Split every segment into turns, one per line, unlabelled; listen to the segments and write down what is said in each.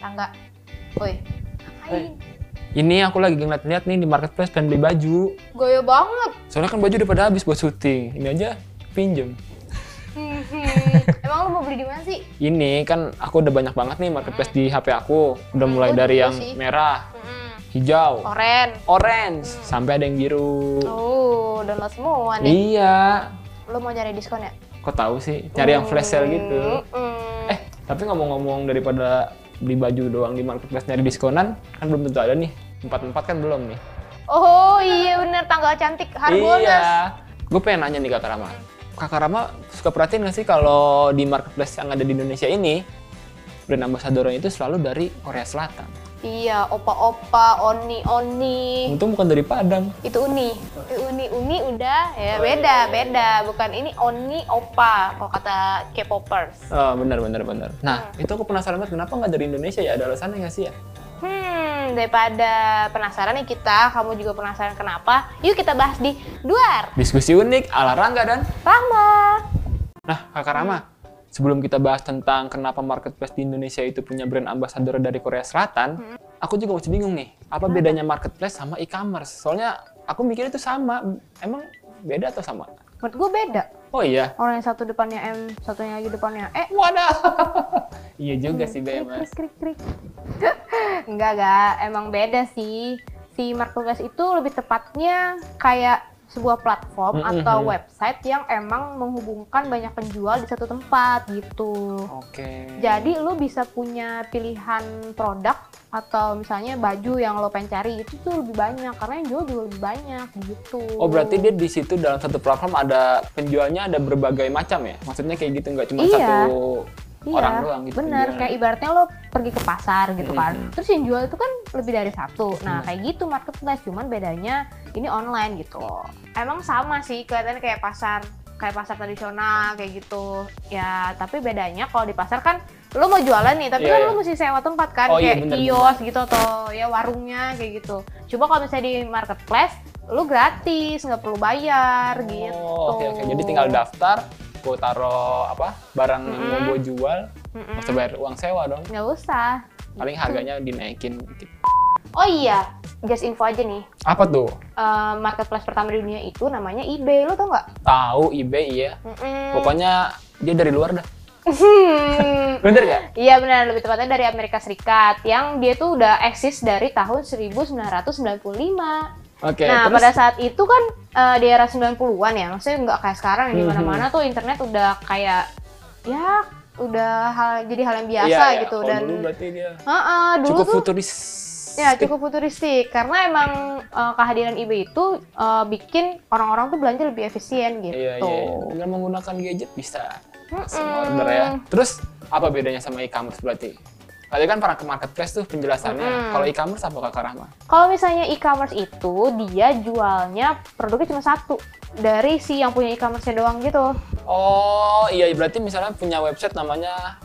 Rangga. Woi, ngapain?
Ini aku lagi ngeliat-liat nih di marketplace pengen beli baju.
Goyo banget.
Soalnya kan baju udah pada habis buat syuting. Ini aja pinjem.
Emang lu mau beli di mana sih?
Ini kan aku udah banyak banget nih marketplace di HP aku. Udah mulai
aku
dari
juga
yang
Oh, gitu sih.
merah,
Mm-mm.
hijau,
Oren.
orange, sampai ada yang biru.
Oh, download semua nih.
Iya.
Lu mau nyari diskon ya?
Kok tahu sih? Cari yang flash sale gitu.
Mm-mm.
Eh, tapi ngomong-ngomong daripada beli baju doang di marketplace nyari diskonan, kan belum tentu ada nih. Empat-empat kan belum nih.
Oh iya bener tanggal cantik Harbolnas.
Iya. Gue pengen nanya nih Kakak Rama. Kakak Rama suka perhatiin nggak sih kalau di marketplace yang ada di Indonesia ini brand ambassadornya itu selalu dari Korea Selatan.
Iya, opa-opa, oni-oni.
Untung bukan dari Padang.
Itu uni. Itu uni, uni udah ya beda, beda. Bukan ini oni opa kalau kata K-popers.
Oh, benar benar benar. Nah, itu aku penasaran banget kenapa nggak dari Indonesia ya? Ada alasannya nggak sih ya?
Hmm, daripada penasaran nih kita, kamu juga penasaran kenapa? Yuk kita bahas di Duar
Diskusi unik ala Rangga dan
Rahma.
Nah, Kakak Rama, sebelum kita bahas tentang kenapa marketplace di Indonesia itu punya brand ambassador dari Korea Selatan, aku juga masih bingung nih, apa bedanya marketplace sama e-commerce? Soalnya aku mikir itu sama. Emang beda atau sama?
Menurut gue beda.
Oh iya.
Orang yang satu depannya M, satunya lagi depannya E.
Wadah. iya juga sih,
Krik,
Bema.
krik, krik, krik. Enggak, enggak. Emang beda sih. Si marketplace itu lebih tepatnya kayak sebuah platform
Mm-mm.
atau website yang emang menghubungkan banyak penjual di satu tempat gitu.
Oke.
Jadi lu bisa punya pilihan produk atau misalnya baju yang lo pengen cari itu tuh lebih banyak karena yang jual juga lebih banyak gitu.
Oh berarti dia di situ dalam satu platform ada penjualnya ada berbagai macam ya? Maksudnya kayak gitu nggak cuma
Iya.
satu
Iya,
orang doang gitu?
Bener,
penjualnya.
kayak ibaratnya lo pergi ke pasar gitu kan.
Mm-mm.
Terus yang jual itu kan lebih dari satu. Nah, kayak gitu marketplace, cuman bedanya ini online gitu. Emang sama sih kelihatannya kayak pasar, kayak pasar tradisional kayak gitu. Ya, tapi bedanya kalau di pasar kan lo mau jualan nih, tapi
Iya,
kan
iya.
lo mesti sewa tempat kan
Oh, iya,
kayak
bener,
kios gitu atau ya warungnya kayak gitu. Coba kalau misalnya di marketplace lo gratis, nggak perlu bayar gitu.
Oh, oke oke. Jadi tinggal daftar, gue taro apa barang yang mau
Mm-mm.
gue jual,
Mm-mm.
harus bayar uang sewa dong.
Nggak usah.
Paling
Gitu.
harganya dinaikin gitu. dikit.
Oh iya, just info aja nih.
Apa tuh?
Eh, marketplace pertama di dunia itu namanya eBay, lo tau nggak?
Tahu eBay iya. Pokoknya dia dari luar dah.
Hmm.
Bener gak?
Iya benar, lebih tepatnya dari Amerika Serikat yang dia tuh udah eksis dari tahun 1995.
Oke.
nah,
terus
pada saat itu kan eh, di era 90-an ya, maksudnya nggak kayak sekarang
Hmm,
yang di mana-mana tuh internet udah kayak ya udah hal jadi hal yang biasa
Iya, iya.
gitu
Oh,
dan
dulu berarti dia
Heeh, dulu
cukup
tuh
futuris.
Ya cukup futuristik karena emang eh, kehadiran eBay itu eh, bikin orang-orang tuh belanja lebih efisien gitu.
Iya iya. Dengan menggunakan gadget bisa langsung
Mm-mm.
order ya. Terus apa bedanya sama e-commerce berarti? Tadi kan para ke marketplace tuh penjelasannya.
Mm-mm.
Kalau e-commerce apa Kakak Rahma?
Kalau misalnya e-commerce itu dia jualnya produknya cuma satu dari si yang punya e-commerce doang gitu.
Oh iya berarti misalnya punya website namanya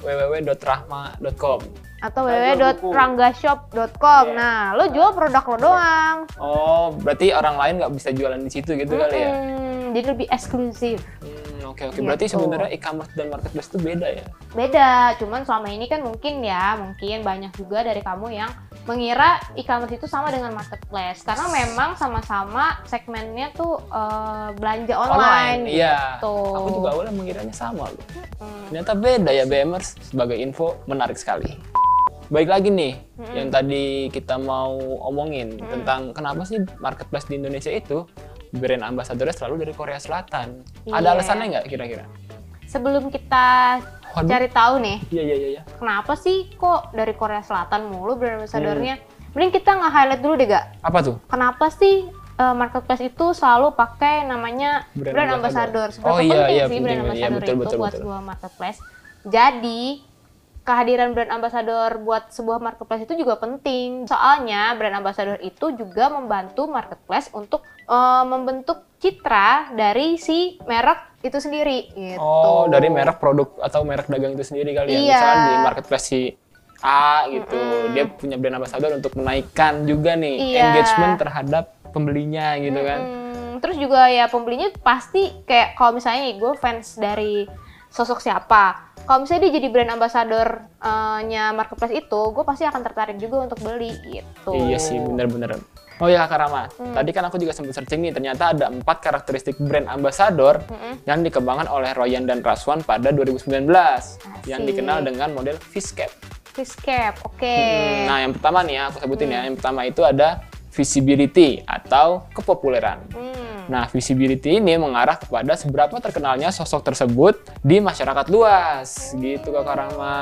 www.rahma.com.
Atau
Nah, jual buku.
www.ranggashop.com.
Iya.
Nah, lo jual produk lo doang.
Oh berarti orang lain nggak bisa jualan di situ gitu kali ya?
Mm, jadi lebih eksklusif.
Hmm, Oke oke berarti
Gitu.
sebenarnya e-commerce dan marketplace itu beda ya?
Beda, cuman selama ini kan mungkin ya, mungkin banyak juga dari kamu yang mengira e-commerce itu sama dengan marketplace karena memang sama-sama segmennya tuh eh, belanja online.
Iya.
gitu.
Aku juga awalnya mengiranya sama loh.
Mm.
Ternyata beda ya BMers. Sebagai info menarik sekali. Baik lagi nih yang tadi kita mau omongin tentang kenapa sih marketplace di Indonesia itu brand ambasadornya selalu dari Korea Selatan.
Iya.
Ada alasannya nggak kira-kira?
Sebelum kita
Waduh.
cari tahu nih,
Iya iya iya. iya.
kenapa sih kok dari Korea Selatan mulu brand ambassador-nya?
Iya,
Mending kita nge-highlight dulu deh, Gak.
Apa tuh?
Kenapa sih eh, marketplace itu selalu pakai namanya
Brand
brand,
ambassador.
ambassador? Seberapa
Oh, iya,
penting
iya,
sih
penting
brand
banget. Iya,
ambassador
betul,
itu
betul,
buat
betul.
sebuah marketplace? Jadi kehadiran brand ambassador buat sebuah marketplace itu juga penting. Soalnya brand ambassador itu juga membantu marketplace untuk eh, membentuk citra dari si merek itu sendiri. Gitu.
Oh, dari merek produk atau merek dagang itu sendiri kali ya.
Iya.
Misalnya di marketplace si A gitu, dia punya brand ambassador untuk menaikkan juga nih
Iya.
engagement terhadap pembelinya gitu kan.
Hmm, terus juga ya pembelinya pasti kayak kalau misalnya gue fans dari sosok siapa, kalau misalnya dia jadi brand ambassador-nya marketplace itu, gue pasti akan tertarik juga untuk beli gitu.
Iya sih, bener-bener. Oh ya Kak Rama,
Hmm.
tadi kan aku juga sempat searching nih, ternyata ada empat karakteristik brand ambassador
Mm-mm.
yang dikembangkan oleh Royan dan Raswan pada 2019 yang
Asik.
dikenal dengan model Fishcap.
Fish cap, oke.
Hmm, Nah, yang pertama nih ya, aku sebutin
Mm.
ya. Yang pertama itu ada visibility atau kepopuleran.
Hmm.
Nah, visibility ini mengarah kepada seberapa terkenalnya sosok tersebut di masyarakat luas, gitu Kak Rama.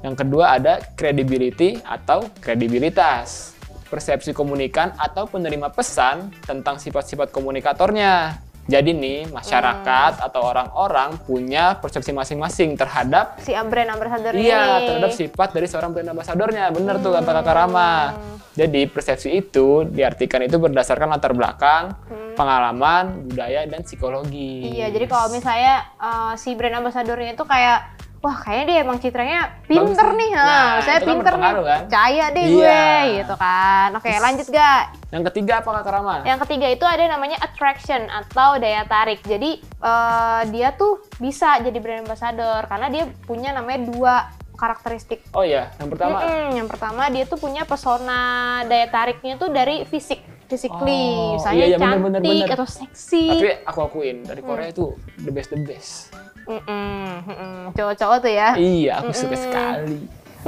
Yang kedua ada credibility atau kredibilitas. Persepsi komunikan atau penerima pesan tentang sifat-sifat komunikatornya. Jadi nih, masyarakat atau orang-orang punya persepsi masing-masing terhadap
Si brand ambassador
Iya,
ini.
terhadap sifat dari seorang brand ambassadornya. Bener tuh kata Kakak Rama.
Hmm.
Jadi persepsi itu diartikan itu berdasarkan latar belakang, pengalaman, budaya, dan psikologi.
Hmm. Iya, jadi kalau misalnya eh, si brand ambassadornya itu kayak wah kayaknya dia emang citranya pinter
Bagus nih.
nih, nah,
Nah,
saya
itu kan
pinter nih,
berpengaruh, kan?
percaya deh
Iya.
gue, gitu kan. Oke, lanjut gak?
Yang ketiga apa Kakak Rama?
Yang ketiga itu ada namanya attraction atau daya tarik. Jadi eh, dia tuh bisa jadi brand ambassador karena dia punya namanya dua karakteristik.
Oh iya, yang pertama.
Mm-mm, yang pertama dia tuh punya pesona daya tariknya tuh dari fisik, physically,
Oh,
misalnya
iya, iya, bener,
cantik
bener, bener.
atau seksi.
Tapi aku akuin dari
Hmm.
Korea itu the best the best.
Mm-mm, mm-mm. Cowok-cowok tuh ya.
Iya, aku suka
Mm-mm.
sekali.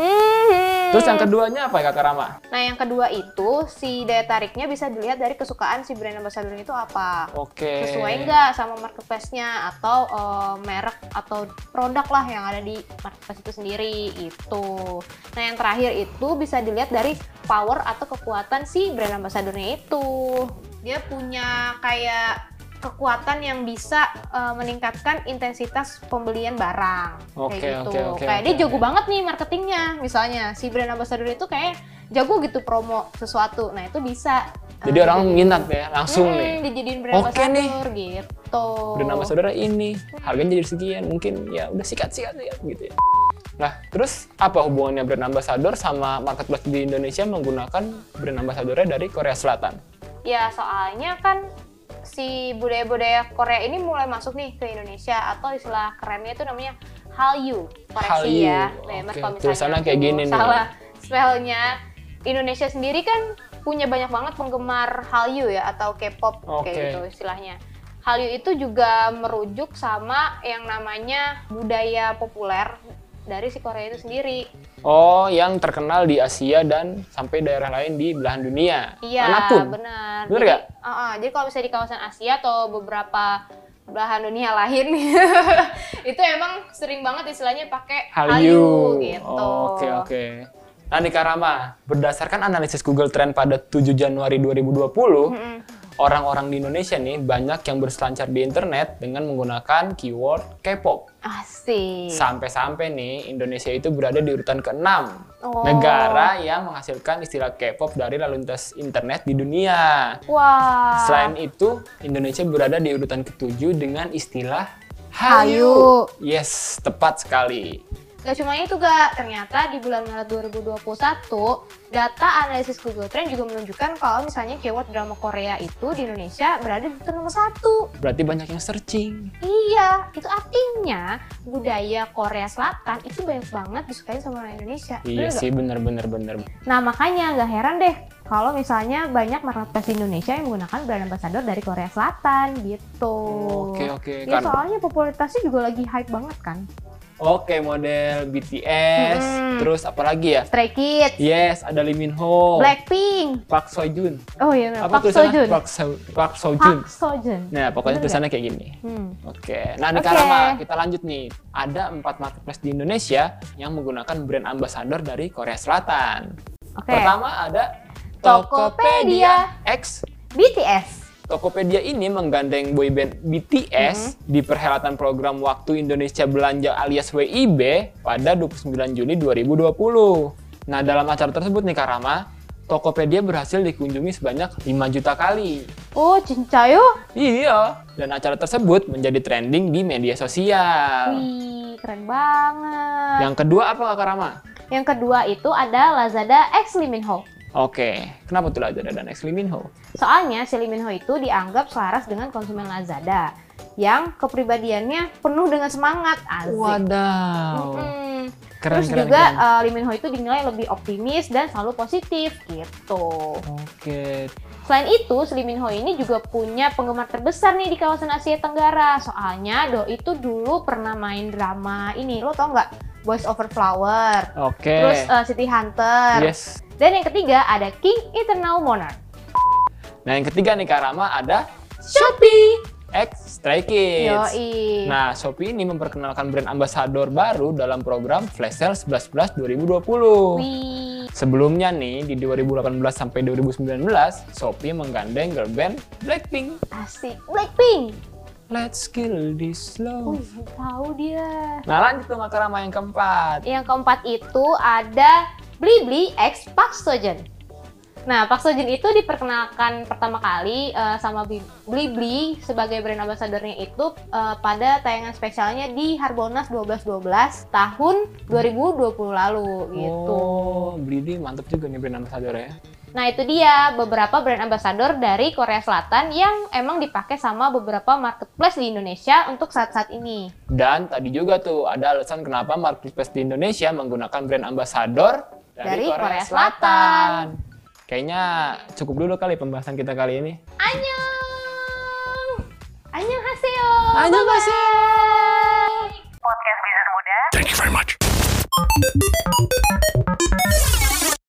Mhm.
Terus yang keduanya apa ya Kakak Rama?
Nah, yang kedua itu si daya tariknya bisa dilihat dari kesukaan si brand ambassador itu apa.
Oke.
sesuai nggak sama marketplace-nya atau eh, merek atau produk lah yang ada di marketplace itu sendiri itu. Nah yang terakhir itu bisa dilihat dari power atau kekuatan si brand ambassador-nya itu. Dia punya kayak kekuatan yang bisa eh, meningkatkan intensitas pembelian barang
Oke,
kayak gitu.
oke, oke,
kayak
oke,
dia jago
oke.
banget nih marketingnya misalnya si brand ambassador itu kayak jago gitu promo sesuatu. Nah itu bisa. eh,
Jadi orang
dijadiin-
minat ya langsung
Mm-mm,
nih.
Hmm, dijadiin brand
Oke nih.
ambassador gitu
brand ambassador ini harganya jadi sekian mungkin ya udah sikat sikat sikat gitu ya nah terus apa hubungannya brand ambassador sama marketplace di Indonesia menggunakan brand ambassadornya dari Korea Selatan
ya soalnya kan si budaya-budaya Korea ini mulai masuk nih ke Indonesia atau istilah kerennya itu namanya Hallyu koreksi
Hallyu,
ya Lemer
oke.
kalau misalnya
Tulisannya kayak
aku
gini nih.
salah spellnya Indonesia sendiri kan punya banyak banget penggemar Hallyu ya atau K-pop kayak
Oke.
gitu istilahnya Hallyu itu juga merujuk sama yang namanya budaya populer dari si Korea itu sendiri
oh yang terkenal di Asia dan sampai daerah lain di belahan dunia
Iya,
manapun
benar.
Benar
Jadi,
nggak?
uh-uh, jadi kalau misalnya di kawasan Asia atau beberapa belahan dunia lain itu emang sering banget istilahnya pakai Hallyu gitu.
oke oke nah di Karama berdasarkan analisis Google Trend pada 7 Januari 2020
Mm-mm.
orang-orang di Indonesia nih banyak yang berselancar di internet dengan menggunakan keyword K-pop
Asik.
Sampai-sampai nih Indonesia itu berada di urutan keenam
Oh.
negara yang menghasilkan istilah K-pop dari lalu lintas internet di dunia.
Ah. Wah.
Selain itu, Indonesia berada di urutan ketujuh dengan istilah
Hallyu.
Hallyu. Yes, tepat sekali.
Gak cuma itu gak, ternyata di bulan Maret 2021, data analisis Google Trend juga menunjukkan kalau misalnya keyword drama Korea itu di Indonesia berada di urutan nomor satu.
Berarti banyak yang searching.
Iya, itu artinya budaya Korea Selatan itu banyak banget disukai sama orang Indonesia. Bener
Iya
nggak?
sih, bener-bener bener.
Nah makanya nggak heran deh kalau misalnya banyak marketplace di Indonesia yang menggunakan brand ambassador dari Korea Selatan gitu.
Oke oke
Ya
kan.
soalnya popularitasnya juga lagi hype banget kan.
Oke model BTS,
Mm-mm.
terus apa lagi ya?
Stray Kids,
Yes, ada Lee Min Ho,
Blackpink.
Park Sojun.
Oh iya, benar.
Oh. Apa
Park Sojun.
tulisannya? Park, So- Park Sojun.
Park Sojun.
Nah, pokoknya
Bener
tulisannya kayak gini.
Hmm.
Oke, nah
Oke.
Nika kita lanjut nih. Ada empat marketplace di Indonesia yang menggunakan brand ambassador dari Korea Selatan.
Oke.
Pertama ada
Tokopedia.
Tokopedia X.
BTS.
Tokopedia ini menggandeng boyband BTS
Mm-hmm.
di perhelatan program Waktu Indonesia Belanja alias WIB pada 29 Juni 2020. Nah, dalam acara tersebut nih Karama, Tokopedia berhasil dikunjungi sebanyak 5 juta kali.
Oh, Cincayo.
Iya, dan acara tersebut menjadi trending di media sosial.
Wih, keren banget.
Yang kedua apa Kak Rama?
Yang kedua itu ada Lazada X Liminho.
Oke, kenapa tuh Lazada dan Next Liminho?
Soalnya si Liminho itu dianggap selaras dengan konsumen Lazada yang kepribadiannya penuh dengan semangat asik.
Wadaw,
Mm-mm.
keren
Terus
keren
juga
keren.
eh, Lee Min Ho itu dinilai lebih optimis dan selalu positif gitu.
Oke,
Selain itu, si Lee Min Ho ini juga punya penggemar terbesar nih di kawasan Asia Tenggara. Soalnya Do itu dulu pernah main drama ini, lo tau nggak? Boys Over Flower,
oke.
terus eh, City Hunter.
Yes.
Dan yang ketiga ada King Eternal Monarch.
Nah yang ketiga nih Kak Rama ada
Shopee.
X Stray Kids.
Yoi.
Nah, Shopee ini memperkenalkan brand ambasador baru dalam program Flash Sale 11 2020.
Wih.
Sebelumnya nih, di 2018 sampai 2019, Shopee menggandeng girl band Blackpink.
Asik. Blackpink.
Let's kill this
Uh,
love.
tahu dia.
Nah, lanjut tuh Kak Rama yang keempat.
Yang keempat itu ada Blibli X Park Sojen. Nah, Park Sojen itu diperkenalkan pertama kali eh, sama Bi- Blibli sebagai brand ambassador-nya itu eh, pada tayangan spesialnya di Harbolnas 1212 tahun 2020 lalu gitu.
Oh, Blidi mantep juga nih brand ambasador ya.
Nah, itu dia beberapa brand ambassador dari Korea Selatan yang emang dipakai sama beberapa marketplace di Indonesia untuk saat-saat ini.
Dan tadi juga tuh ada alasan kenapa marketplace di Indonesia menggunakan brand ambasador
Dari
dari, Korea,
Korea
Selatan. Kayaknya cukup dulu kali pembahasan kita kali ini.
Annyeong! Annyeonghaseyo!
Annyeonghaseyo!
Bye-bye!
Thank you very much.